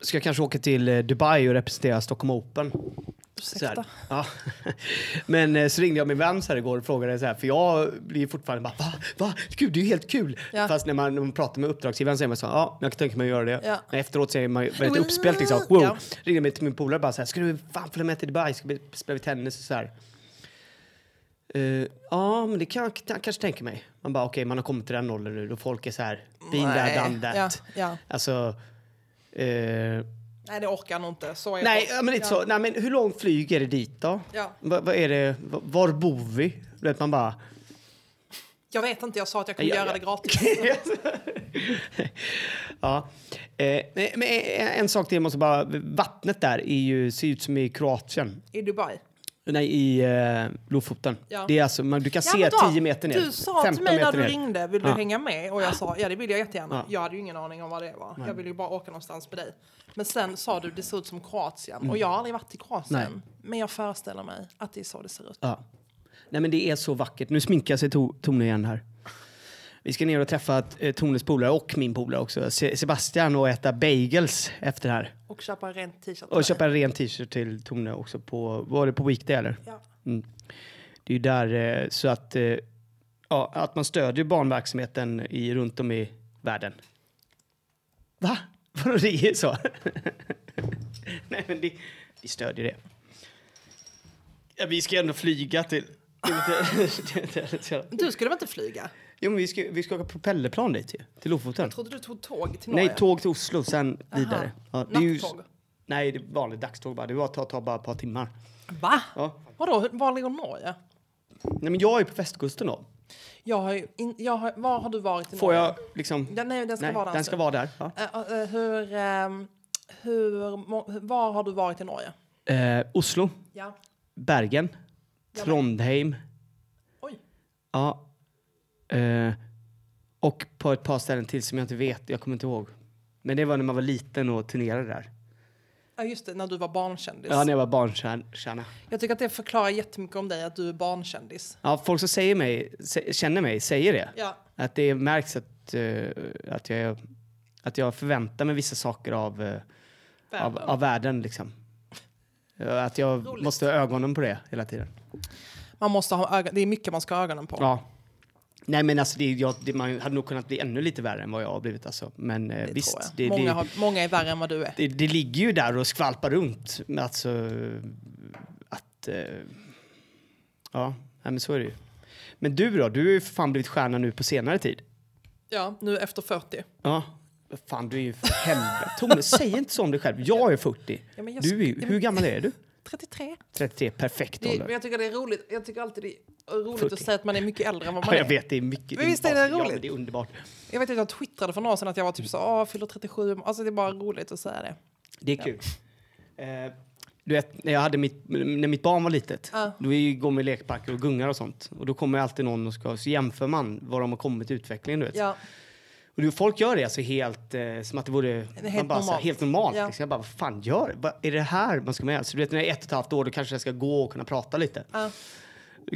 [SPEAKER 1] ska kanske åka till eh, Dubai och representera Stockholm Open. Så här,
[SPEAKER 2] Ursäkta.
[SPEAKER 1] ja. Men eh, så ringde jag min vän så här igår och frågade så här, för jag blir fortfarande bara va? va? Gud, det är ju helt kul.
[SPEAKER 2] Ja.
[SPEAKER 1] Fast när man, när man pratar med uppdragsgivaren så är man så här, ja, jag kan tänka mig att göra det.
[SPEAKER 2] Ja.
[SPEAKER 1] Men efteråt så är man ju väldigt
[SPEAKER 2] Well,
[SPEAKER 1] uppspelt liksom. Wow.
[SPEAKER 2] ja.
[SPEAKER 1] Ringde mig till min polare bara så här, ska du fan följa med till Dubai? Ska vi spela tennis och så här. Eh, ja, men det kan jag, jag kanske tänker mig. Man bara, okej, man har kommit till den åldern nu då folk är så här, been
[SPEAKER 2] Nej,
[SPEAKER 1] there, done that.
[SPEAKER 2] Ja, ja.
[SPEAKER 1] Alltså, eh,
[SPEAKER 2] Nej, det orkar nog inte. Så är
[SPEAKER 1] Nej,
[SPEAKER 2] folk.
[SPEAKER 1] ja, men inte
[SPEAKER 2] ja.
[SPEAKER 1] så. Nej, men hur långt flyg är det dit då?
[SPEAKER 2] Ja.
[SPEAKER 1] Vad vad är det? v- Var bor vi? Du Vet man bara...
[SPEAKER 2] Jag vet inte, jag sa att jag kunde
[SPEAKER 1] Ja,
[SPEAKER 2] göra
[SPEAKER 1] ja.
[SPEAKER 2] det gratis.
[SPEAKER 1] ja. Eh, nej, men en- en sak till, jag måste bara... Vattnet där är ju, ser ut som i Kroatien.
[SPEAKER 2] I Dubai.
[SPEAKER 1] Nej, i eh, Lofoten.
[SPEAKER 2] Ja.
[SPEAKER 1] Det är alltså, man, du kan se
[SPEAKER 2] men då,
[SPEAKER 1] 10 meter ner.
[SPEAKER 2] Du sa till
[SPEAKER 1] 15
[SPEAKER 2] mig när
[SPEAKER 1] meter
[SPEAKER 2] du
[SPEAKER 1] ner.
[SPEAKER 2] ringde, vill du
[SPEAKER 1] Ja.
[SPEAKER 2] hänga med? Och jag sa, ja det vill jag jättegärna.
[SPEAKER 1] Ja.
[SPEAKER 2] Jag hade ju ingen aning om vad det var. Jag ville ju bara åka någonstans med dig. Men sen sa du, det ser ut som Kroatien. Och jag har aldrig varit i Kroatien.
[SPEAKER 1] Mm. Nej.
[SPEAKER 2] Men jag föreställer mig att det är så det ser ut.
[SPEAKER 1] Ja. Nej, men det är så vackert. Nu sminkar sig to- Tone igen här. Vi ska ner och träffa eh, Tones polare och min polare också, Se- Sebastian, och äta bagels efter det här.
[SPEAKER 2] Och köpa en ren t-shirt. till
[SPEAKER 1] Och
[SPEAKER 2] dig.
[SPEAKER 1] köpa en ren t-shirt till Tone också på, var det på Weekday eller?
[SPEAKER 2] Ja.
[SPEAKER 1] Mm. Det är ju där eh, så att, eh, ja, att man stödjer barnverksamheten i, runt om i världen. Va? Vadå det är så? Nej men det, vi stödjer det. Ja, vi ska ändå flyga till...
[SPEAKER 2] Du skulle väl inte flyga?
[SPEAKER 1] jo men vi ska, vi ska åka propellerplan dit ju, till Lofoten.
[SPEAKER 2] Jag trodde du tog tåg till Norge.
[SPEAKER 1] Nej, tåg till Oslo, sen vidare. Ja, det är ju,
[SPEAKER 2] Nattåg.
[SPEAKER 1] nej, det är vanligt dagståg bara. Det var- tar, tar bara ett par timmar.
[SPEAKER 2] Va?
[SPEAKER 1] Ja.
[SPEAKER 2] Vadå, hur- var ligger Norge?
[SPEAKER 1] Nej, men jag är på västkusten då.
[SPEAKER 2] Jag har ju in, jag har, var har du varit i
[SPEAKER 1] Får
[SPEAKER 2] Norge?
[SPEAKER 1] jag liksom...
[SPEAKER 2] Ja, nej, den ska
[SPEAKER 1] Nej,
[SPEAKER 2] vara alltså. där.
[SPEAKER 1] den ska vara där. Ja.
[SPEAKER 2] Eh, eh, hur, ehm, hur, må- var har du varit i Norge?
[SPEAKER 1] Eh, Oslo,
[SPEAKER 2] Ja.
[SPEAKER 1] Bergen,
[SPEAKER 2] Ja,
[SPEAKER 1] Trondheim.
[SPEAKER 2] Oj.
[SPEAKER 1] Ja. Eh, och på ett par ställen till som jag inte vet. Jag kommer inte ihåg. Men det var när man var liten och turnerade där.
[SPEAKER 2] Ja, just det, när du var barnkändis.
[SPEAKER 1] Ja, när jag var barnkärna.
[SPEAKER 2] Jag tycker att det förklarar jättemycket om dig, att du är barnkändis.
[SPEAKER 1] Ja, folk som säger mig, sä- känner mig säger det.
[SPEAKER 2] Ja,
[SPEAKER 1] Att det märks att, eh, att, jag, är- att jag förväntar mig vissa saker av, eh, av,
[SPEAKER 2] världen.
[SPEAKER 1] av världen. Liksom. Eh, Att jag
[SPEAKER 2] Roligt.
[SPEAKER 1] måste ha ögonen på det hela tiden.
[SPEAKER 2] Man måste ha ögon, det är mycket man ska ha ögonen på.
[SPEAKER 1] Ja. Nej men alltså, det, jag, det, man hade nog kunnat bli ännu lite värre än vad jag har blivit alltså. Men eh,
[SPEAKER 2] det tror
[SPEAKER 1] visst,
[SPEAKER 2] jag.
[SPEAKER 1] det,
[SPEAKER 2] många,
[SPEAKER 1] det,
[SPEAKER 2] har, många är värre än vad du är.
[SPEAKER 1] det, det ligger ju där och skvalpar runt. Men Alltså, att... Eh, ja, nej, men så är det ju. Men du då? Du har ju för fan blivit stjärna nu på senare tid.
[SPEAKER 2] Ja, nu efter 40.
[SPEAKER 1] Ja. Fan, du är ju för helvete. Tone, säg inte så om dig själv. Jag är 40.
[SPEAKER 2] Ja, men jag
[SPEAKER 1] Du är
[SPEAKER 2] sk-
[SPEAKER 1] ju,
[SPEAKER 2] ja,
[SPEAKER 1] hur
[SPEAKER 2] men-
[SPEAKER 1] gammal är du?
[SPEAKER 2] 33.
[SPEAKER 1] 33, perfekt
[SPEAKER 2] Det, men
[SPEAKER 1] ålder.
[SPEAKER 2] jag tycker det är roligt. Jag tycker alltid det är roligt
[SPEAKER 1] 40.
[SPEAKER 2] att säga att man är mycket äldre än vad man
[SPEAKER 1] Ja, jag
[SPEAKER 2] är.
[SPEAKER 1] vet, det är mycket.
[SPEAKER 2] Men visst är det
[SPEAKER 1] Ja, men
[SPEAKER 2] roligt?
[SPEAKER 1] det är underbart.
[SPEAKER 2] Jag vet att jag twittrade för några år sedan att jag var typ så, ah, jag fyller 37. Alltså det är bara roligt att säga det.
[SPEAKER 1] Det är kul. Eh, du vet, när, jag hade mitt, när mitt barn var litet,
[SPEAKER 2] Ja.
[SPEAKER 1] då vi går med lekparker och gungar och sånt. Och då kommer alltid någon och ska, så jämför man vad de har kommit i utvecklingen. Du vet.
[SPEAKER 2] Ja,
[SPEAKER 1] Och du, folk gör det alltså helt, eh, som att det vore
[SPEAKER 2] helt
[SPEAKER 1] man bara, så här,
[SPEAKER 2] normalt.
[SPEAKER 1] helt normalt.
[SPEAKER 2] Ja.
[SPEAKER 1] Liksom. Jag bara, vad fan gör Vad Är det här man ska med? Så du vet, när jag är ett och ett halvt år, då kanske jag ska gå och kunna prata lite.
[SPEAKER 2] ja.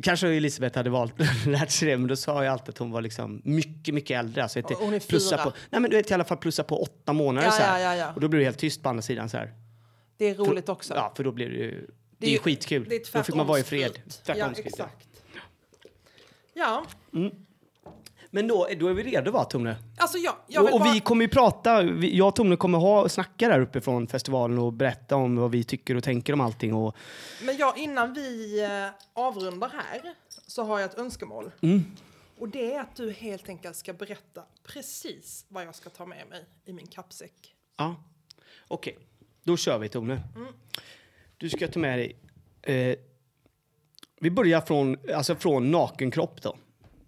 [SPEAKER 1] Kanske Elisabeth hade valt, lärt sig det, men då sa jag alltid att hon var liksom mycket, mycket äldre. Alltså, vet, du,
[SPEAKER 2] Och hon är
[SPEAKER 1] plussa
[SPEAKER 2] fyra.
[SPEAKER 1] på, nej, men du vet, i alla fall plussa på åtta månader
[SPEAKER 2] Ja,
[SPEAKER 1] så här.
[SPEAKER 2] ja, ja, ja.
[SPEAKER 1] Och då blir det helt tyst på andra sidan så här.
[SPEAKER 2] det är roligt också.
[SPEAKER 1] Ja, för då blir det ju... Det, är
[SPEAKER 2] är
[SPEAKER 1] ju
[SPEAKER 2] ju-
[SPEAKER 1] skitkul.
[SPEAKER 2] Det är
[SPEAKER 1] då fick man vara i fred.
[SPEAKER 2] tvärtomsflyt. Ja,
[SPEAKER 1] Tvärtomsflyt, ja.
[SPEAKER 2] exakt. Ja,
[SPEAKER 1] Men då, då är vi redo va, Tomne?
[SPEAKER 2] alltså jag, jag vill
[SPEAKER 1] Och, och
[SPEAKER 2] bara...
[SPEAKER 1] vi kommer ju prata, vi, jag och Tomne kommer ha, snacka där uppe från festivalen och berätta om vad vi tycker och tänker om allting. Och,
[SPEAKER 2] Men jag, innan vi eh, avrundar här så har jag ett önskemål.
[SPEAKER 1] Mm.
[SPEAKER 2] Och det är att du helt enkelt ska berätta precis vad jag ska ta med mig i min kappsäck.
[SPEAKER 1] ja. Okej, då kör vi Tomne.
[SPEAKER 2] Mm.
[SPEAKER 1] Du ska ta med dig... Eh, vi börjar från, alltså från nakenkropp då.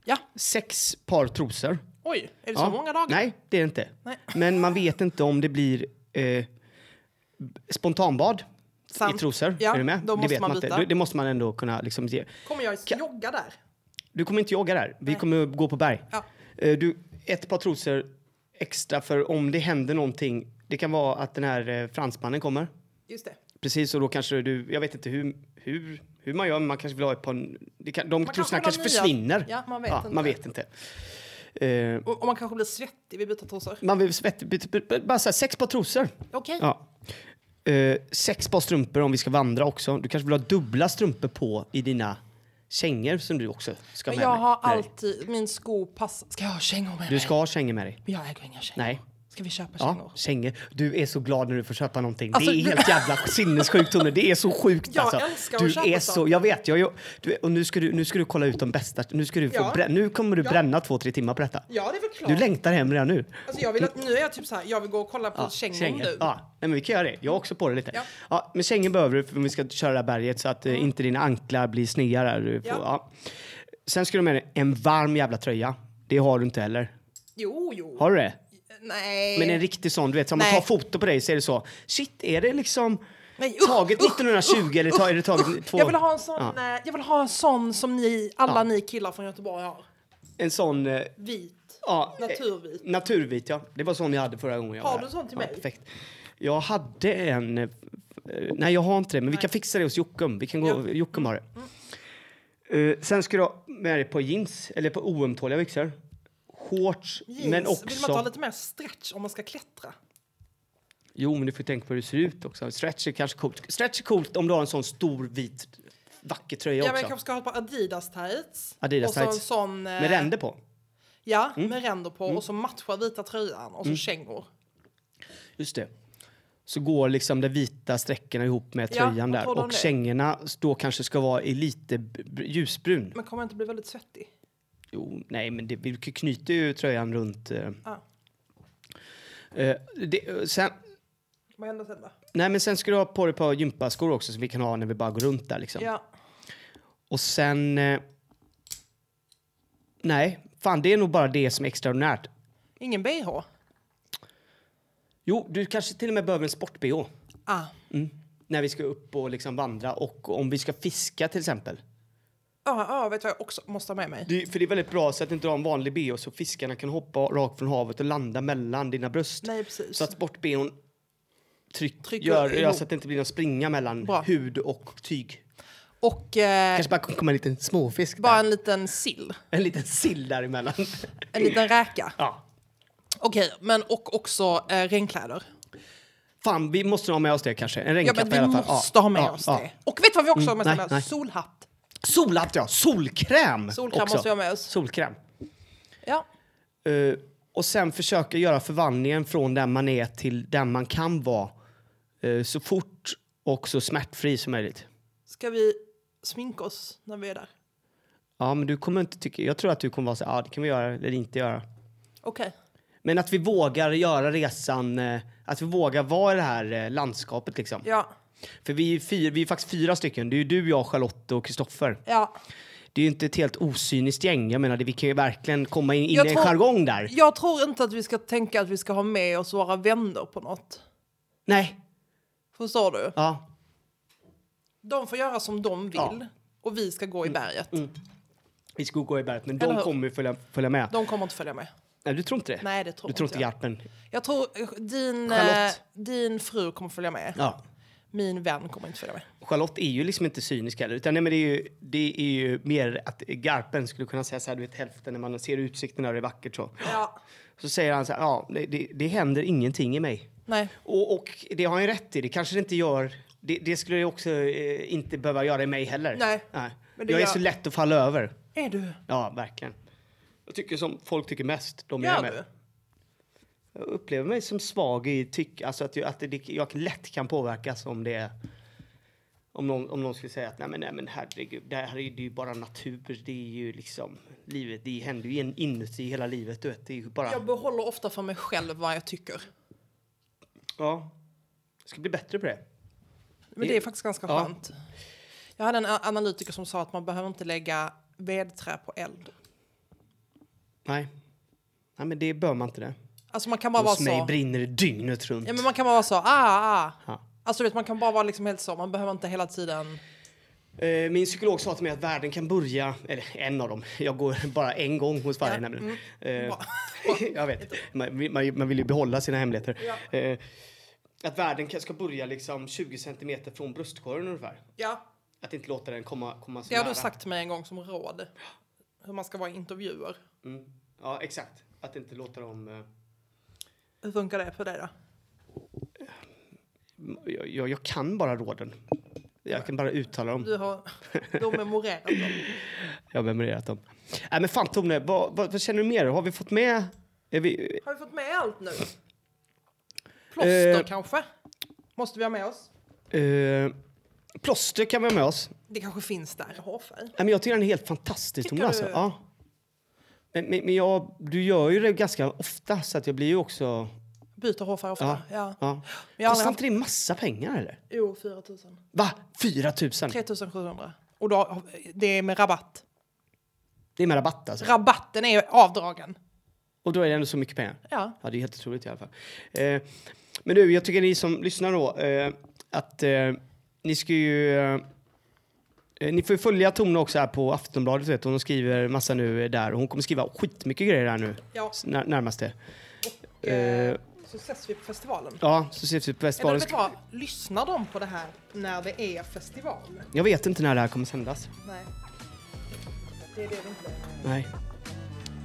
[SPEAKER 2] Ja,
[SPEAKER 1] Sex par trosor.
[SPEAKER 2] oj, är det
[SPEAKER 1] Ja.
[SPEAKER 2] så många dagar?
[SPEAKER 1] Nej, det är det inte.
[SPEAKER 2] Nej.
[SPEAKER 1] Men man vet inte om det blir eh, spontanbad
[SPEAKER 2] Sant.
[SPEAKER 1] i trosor.
[SPEAKER 2] Ja,
[SPEAKER 1] är du med?
[SPEAKER 2] då måste
[SPEAKER 1] det vet
[SPEAKER 2] man
[SPEAKER 1] man inte.
[SPEAKER 2] byta.
[SPEAKER 1] Det- Det måste man ändå kunna liksom ge.
[SPEAKER 2] Kommer jag jogga där?
[SPEAKER 1] Du kommer inte jogga där. Vi kommer gå på berg.
[SPEAKER 2] Ja.
[SPEAKER 1] Eh, du, ett par trosor extra för om det händer någonting. Det kan vara att den här eh, fransmannen kommer.
[SPEAKER 2] Just det.
[SPEAKER 1] Precis, och då kanske du... Jag vet inte hur, hur, hur man gör, men man kanske vill ha ett par... Det kan, de
[SPEAKER 2] kanske
[SPEAKER 1] trosorna
[SPEAKER 2] vill ha
[SPEAKER 1] kanske
[SPEAKER 2] nya.
[SPEAKER 1] försvinner.
[SPEAKER 2] Ja, man vet inte.
[SPEAKER 1] Man vet inte. Eh,
[SPEAKER 2] Och, och man
[SPEAKER 1] Mm.
[SPEAKER 2] kanske blir svettig vid byta trosor.
[SPEAKER 1] man vill svett, byta- byta- bara så här, sex par trosor.
[SPEAKER 2] Okej.
[SPEAKER 1] Ja. eh, sex par strumpor om vi ska vandra också. Du kanske vill ha dubbla strumpor på i dina kängor som du också ska
[SPEAKER 2] Men
[SPEAKER 1] med
[SPEAKER 2] jag
[SPEAKER 1] dig.
[SPEAKER 2] har
[SPEAKER 1] Nej.
[SPEAKER 2] alltid, min sko passar. Ska jag ha kängor med
[SPEAKER 1] Du
[SPEAKER 2] mig?
[SPEAKER 1] ska ha kängor med dig.
[SPEAKER 2] Men jag äger inga kängor.
[SPEAKER 1] Nej.
[SPEAKER 2] Ska vi köpa
[SPEAKER 1] Ja,
[SPEAKER 2] kängor?
[SPEAKER 1] kängor. Du är så glad när du får köpa någonting.
[SPEAKER 2] Alltså,
[SPEAKER 1] det är
[SPEAKER 2] du-
[SPEAKER 1] helt jävla sinnessjukt Tony. Det är så sjukt
[SPEAKER 2] Jag
[SPEAKER 1] alltså.
[SPEAKER 2] älskar att
[SPEAKER 1] du
[SPEAKER 2] köpa
[SPEAKER 1] är
[SPEAKER 2] saker.
[SPEAKER 1] så, Jag vet, jag, jag, du, och nu ska, du, nu ska du kolla ut de bästa. Nu, ska du få
[SPEAKER 2] Ja.
[SPEAKER 1] brä, nu kommer du
[SPEAKER 2] Ja.
[SPEAKER 1] bränna två, tre timmar på detta.
[SPEAKER 2] Ja, det är väl klart.
[SPEAKER 1] Du längtar hem redan nu.
[SPEAKER 2] Alltså jag vill att, nu är jag typ så här, jag vill gå och kolla på typ. kängor, nu.
[SPEAKER 1] Ja, nej, men vi kan göra det. Jag har också på det lite. Ja.
[SPEAKER 2] Ja.
[SPEAKER 1] men kängor behöver du för om vi ska köra det här berget så att eh, inte dina anklar blir sneda där. Du får, ja.
[SPEAKER 2] Ja.
[SPEAKER 1] Sen ska du med dig en varm jävla tröja. Det har du inte heller.
[SPEAKER 2] Jo, jo.
[SPEAKER 1] Har du det?
[SPEAKER 2] Nej.
[SPEAKER 1] Men en riktig sån, du vet, så om man
[SPEAKER 2] Nej.
[SPEAKER 1] tar foto på dig så är det så. Shit, är det liksom
[SPEAKER 2] Nej, usch,
[SPEAKER 1] taget 1920 eller ta, är det taget två?
[SPEAKER 2] jag, vill ha en sån,
[SPEAKER 1] Ja.
[SPEAKER 2] eh, jag vill ha en sån som ni, alla ni killar från Göteborg har.
[SPEAKER 1] En sån, eh,
[SPEAKER 2] Vit.
[SPEAKER 1] ja. eh,
[SPEAKER 2] Naturvit.
[SPEAKER 1] Naturvit, ja. Det var sån jag hade förra gången. jag
[SPEAKER 2] Har
[SPEAKER 1] var
[SPEAKER 2] du
[SPEAKER 1] här.
[SPEAKER 2] sån till
[SPEAKER 1] ja,
[SPEAKER 2] mig?
[SPEAKER 1] Perfekt. Jag hade en, eh, eh, nej jag har inte det, men vi kan fixa det hos Jockum. Vi kan gå,
[SPEAKER 2] Ja. Mm.
[SPEAKER 1] Jockum har det. Eh, sen ska du ha med dig på jeans, eller på oömtåliga byxor. Shorts,
[SPEAKER 2] Jeans.
[SPEAKER 1] men
[SPEAKER 2] Vill man ta
[SPEAKER 1] också...
[SPEAKER 2] lite mer stretch om man ska klättra?
[SPEAKER 1] Jo, men du får tänka på hur det ser ut också. Stretch är kanske coolt. Stretch är coolt om du har en sån stor vit vacker tröja
[SPEAKER 2] Ja, men
[SPEAKER 1] också.
[SPEAKER 2] jag kanske ska ha ett par Adidas tights.
[SPEAKER 1] Adidas
[SPEAKER 2] och så
[SPEAKER 1] tights.
[SPEAKER 2] en sån... eh,
[SPEAKER 1] Med ränder Mm. på.
[SPEAKER 2] Ja, med ränder på. Och så matchar vita tröjan och så
[SPEAKER 1] Mm.
[SPEAKER 2] kängor.
[SPEAKER 1] Just det. Så går liksom de vita sträckorna ihop med
[SPEAKER 2] Ja,
[SPEAKER 1] tröjan
[SPEAKER 2] vad
[SPEAKER 1] där.
[SPEAKER 2] tror du om
[SPEAKER 1] Och
[SPEAKER 2] det?
[SPEAKER 1] kängorna då kanske ska vara i lite b- b- ljusbrun.
[SPEAKER 2] Men kommer jag inte bli väldigt svettig?
[SPEAKER 1] Jo, nej, men det, vi knyter ju tröjan runt... Eh,
[SPEAKER 2] Ah,
[SPEAKER 1] eh, det, eh, sen,
[SPEAKER 2] vad händer sen då?
[SPEAKER 1] nej, men sen ska du ha på dig ett par gympaskor också som vi kan ha när vi bara går runt där liksom.
[SPEAKER 2] Ja.
[SPEAKER 1] Och sen... Eh, nej, fan det är nog bara det som är extraordinärt.
[SPEAKER 2] Ingen bh?
[SPEAKER 1] Jo, du kanske till och med behöver en sport-bh.
[SPEAKER 2] Ah.
[SPEAKER 1] När vi ska upp och liksom vandra och om vi ska fiska till exempel.
[SPEAKER 2] Ja, ja, Ah, vet du vad jag också måste ha med mig?
[SPEAKER 1] Det, för det är väldigt bra så att du inte har en vanlig bh så fiskarna kan hoppa rakt från havet och landa mellan dina bröst.
[SPEAKER 2] Nej, precis.
[SPEAKER 1] Så att sport-bhn tryck,
[SPEAKER 2] Trycker
[SPEAKER 1] gör, gör
[SPEAKER 2] ihop.
[SPEAKER 1] så att det inte blir någon springa mellan
[SPEAKER 2] Bra.
[SPEAKER 1] hud och tyg.
[SPEAKER 2] Och eh,
[SPEAKER 1] Kanske bara kan komma en liten småfisk
[SPEAKER 2] bara
[SPEAKER 1] där.
[SPEAKER 2] en liten sill.
[SPEAKER 1] En liten sill däremellan.
[SPEAKER 2] En liten räka.
[SPEAKER 1] ja.
[SPEAKER 2] Okej, men och också eh, regnkläder.
[SPEAKER 1] Fan, vi måste ha med oss det kanske. En
[SPEAKER 2] Ja,
[SPEAKER 1] regnkappa
[SPEAKER 2] men vi
[SPEAKER 1] i alla fall.
[SPEAKER 2] måste ha med
[SPEAKER 1] ja,
[SPEAKER 2] oss
[SPEAKER 1] ja. Mm,
[SPEAKER 2] det. Och vet du vad vi också har med
[SPEAKER 1] nej,
[SPEAKER 2] oss?
[SPEAKER 1] nej.
[SPEAKER 2] Solhatt.
[SPEAKER 1] Solhatt ja, solkräm!
[SPEAKER 2] Solkräm
[SPEAKER 1] också.
[SPEAKER 2] måste vi ha med oss.
[SPEAKER 1] Solkräm.
[SPEAKER 2] Ja.
[SPEAKER 1] Eh, och sen försöka göra förvandlingen från där man är till där man kan vara eh, så fort och så smärtfri som möjligt.
[SPEAKER 2] Ska vi sminka oss när vi är där?
[SPEAKER 1] Ja, men du kommer inte tycka... Jag tror att du kommer vara så här, ah, det kan vi göra eller inte göra.
[SPEAKER 2] Okej.
[SPEAKER 1] Men att vi vågar göra resan, eh, att vi vågar vara i det här eh, landskapet liksom.
[SPEAKER 2] Ja.
[SPEAKER 1] För vi är, fyra, vi är faktiskt fyra stycken. Det är ju du, jag, Charlotte och Kristoffer.
[SPEAKER 2] ja.
[SPEAKER 1] Det är ju inte ett helt osyniskt gäng. Jag menar, det, vi kan ju verkligen komma in, in i
[SPEAKER 2] Jag
[SPEAKER 1] en
[SPEAKER 2] tror-
[SPEAKER 1] jargong där.
[SPEAKER 2] Jag tror inte att vi ska tänka att vi ska ha med oss våra vänner på något.
[SPEAKER 1] Nej,
[SPEAKER 2] Förstår du?
[SPEAKER 1] ja.
[SPEAKER 2] De får göra som de vill.
[SPEAKER 1] Ja. Mm,
[SPEAKER 2] Och vi ska gå i berget.
[SPEAKER 1] Vi ska gå i berget, men
[SPEAKER 2] Eller
[SPEAKER 1] de
[SPEAKER 2] hur?
[SPEAKER 1] kommer ju följa, följa med.
[SPEAKER 2] De kommer inte följa med.
[SPEAKER 1] Nej, du tror inte det?
[SPEAKER 2] Nej, det tror
[SPEAKER 1] du tror inte
[SPEAKER 2] inte jag.
[SPEAKER 1] Garpen?
[SPEAKER 2] Jag tror eh, din, eh,
[SPEAKER 1] Charlotte.
[SPEAKER 2] din fru kommer följa med.
[SPEAKER 1] Ja.
[SPEAKER 2] Min vän kommer inte följa med.
[SPEAKER 1] Charlotte är ju liksom inte cynisk heller. Utan nej, men det, är ju, det är ju mer att Garpen skulle kunna säga så här, du vet hälften när man ser utsikten och det är vackert så.
[SPEAKER 2] Ja.
[SPEAKER 1] Så säger han så här, ja, det, det, det händer ingenting i mig.
[SPEAKER 2] Nej.
[SPEAKER 1] Och, och det har han ju rätt i, det kanske det inte gör. Det, det skulle jag också eh, inte behöva göra i mig heller.
[SPEAKER 2] Nej. Men det
[SPEAKER 1] jag är
[SPEAKER 2] gör-
[SPEAKER 1] så lätt att falla över.
[SPEAKER 2] Är du?
[SPEAKER 1] Ja, verkligen. Jag tycker som folk tycker mest, de jag är
[SPEAKER 2] Gör
[SPEAKER 1] med.
[SPEAKER 2] du?
[SPEAKER 1] Jag upplever mig som svag i tyck, alltså att, jag, att det, jag lätt kan påverkas om det är om någon, om någon skulle säga att nej men, nej men herregud, det här är ju, det är ju bara natur, det är ju liksom livet, det händer ju in- inuti hela livet, du vet, det är ju bara...
[SPEAKER 2] Jag behåller ofta för mig själv vad jag tycker.
[SPEAKER 1] Ja. Jag ska bli bättre på det.
[SPEAKER 2] Men det är faktiskt ganska
[SPEAKER 1] Ja.
[SPEAKER 2] skönt. Jag hade en a- analytiker som sa att man behöver inte lägga vedträ på eld.
[SPEAKER 1] Nej. Nej men det bör man inte det.
[SPEAKER 2] Alltså man kan bara vara
[SPEAKER 1] Hos mig
[SPEAKER 2] så.
[SPEAKER 1] brinner det dygnet runt.
[SPEAKER 2] Ja, men man kan bara vara så. Ah, ah.
[SPEAKER 1] Ja.
[SPEAKER 2] Alltså du vet, man kan bara vara liksom helt så. Man behöver inte hela tiden.
[SPEAKER 1] Eh, Min psykolog sa till mig att världen kan börja, eller en av dem, jag går bara en gång hos varje
[SPEAKER 2] Mm.
[SPEAKER 1] nämligen. Eh,
[SPEAKER 2] Bra.
[SPEAKER 1] jag vet, man, vill- man, man vill ju behålla sina hemligheter. Eh, Att världen kan- ska börja liksom 20 centimeter från bröstkorgen ungefär.
[SPEAKER 2] Ja,
[SPEAKER 1] Att inte låta den komma, komma så
[SPEAKER 2] det har
[SPEAKER 1] nära.
[SPEAKER 2] du sagt till mig en gång som råd. Hur man ska vara i intervjuer.
[SPEAKER 1] Mm. Ja, exakt. Att inte låta dem... eh,
[SPEAKER 2] Hur funkar det för dig då?
[SPEAKER 1] jag, jag, jag kan bara råden. Jag kan bara uttala dem.
[SPEAKER 2] Du har då memorerat dem.
[SPEAKER 1] Jag har memorerat dem. Nej, men fan Tone, vad, vad, vad känner du mer? Har vi fått med... Är vi,
[SPEAKER 2] Har vi fått med allt nu? Plåster
[SPEAKER 1] Eh.
[SPEAKER 2] kanske? Måste vi ha med oss?
[SPEAKER 1] eh, plåster kan vi ha med oss.
[SPEAKER 2] Det kanske finns där i hårfärg.
[SPEAKER 1] Nej, men jag tycker den är helt fantastisk,
[SPEAKER 2] Tycker
[SPEAKER 1] Tone. Alltså.
[SPEAKER 2] du?
[SPEAKER 1] Ja. Men, men, men jag, du gör ju det ganska ofta, så att jag blir ju också...
[SPEAKER 2] Byter hårfärg ofta.
[SPEAKER 1] Ja.
[SPEAKER 2] Ja.
[SPEAKER 1] Ja.
[SPEAKER 2] Men jag har aldrig
[SPEAKER 1] Kostar
[SPEAKER 2] haft...
[SPEAKER 1] inte det massa pengar, eller?
[SPEAKER 2] Jo, 4 000.
[SPEAKER 1] Va? 4 000?
[SPEAKER 2] 3 700. Och då, det är med rabatt.
[SPEAKER 1] Det är med rabatt, alltså.
[SPEAKER 2] Rabatten är avdragen.
[SPEAKER 1] Och då är det ändå så mycket pengar.
[SPEAKER 2] Ja.
[SPEAKER 1] Ja, det är helt otroligt i alla fall. Eh, men du, jag tycker ni som lyssnar då, eh, att eh, ni ska ju... Eh, eh, ni får ju följa Tone också här på Aftonbladet, vet du. Hon skriver massa nu eh, där. Och hon kommer skriva skitmycket grejer här nu,
[SPEAKER 2] ja.
[SPEAKER 1] s- när, närmaste. Eh.
[SPEAKER 2] Eh. Så ses vi på festivalen.
[SPEAKER 1] Ja, så ses vi typ på
[SPEAKER 2] Eller
[SPEAKER 1] festivalen.
[SPEAKER 2] vet du vad? Lyssnar de på det här när det är festival?
[SPEAKER 1] Jag vet inte när det här kommer sändas.
[SPEAKER 2] Nej. Det är det vi inte
[SPEAKER 1] Nej.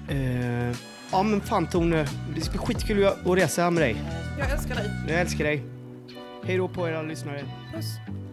[SPEAKER 1] Eh, ja, men fan Tone, det ska bli skitkul att att resa med dig.
[SPEAKER 2] Jag älskar dig.
[SPEAKER 1] Jag älskar dig. Hej då på er alla lyssnare.
[SPEAKER 2] Puss.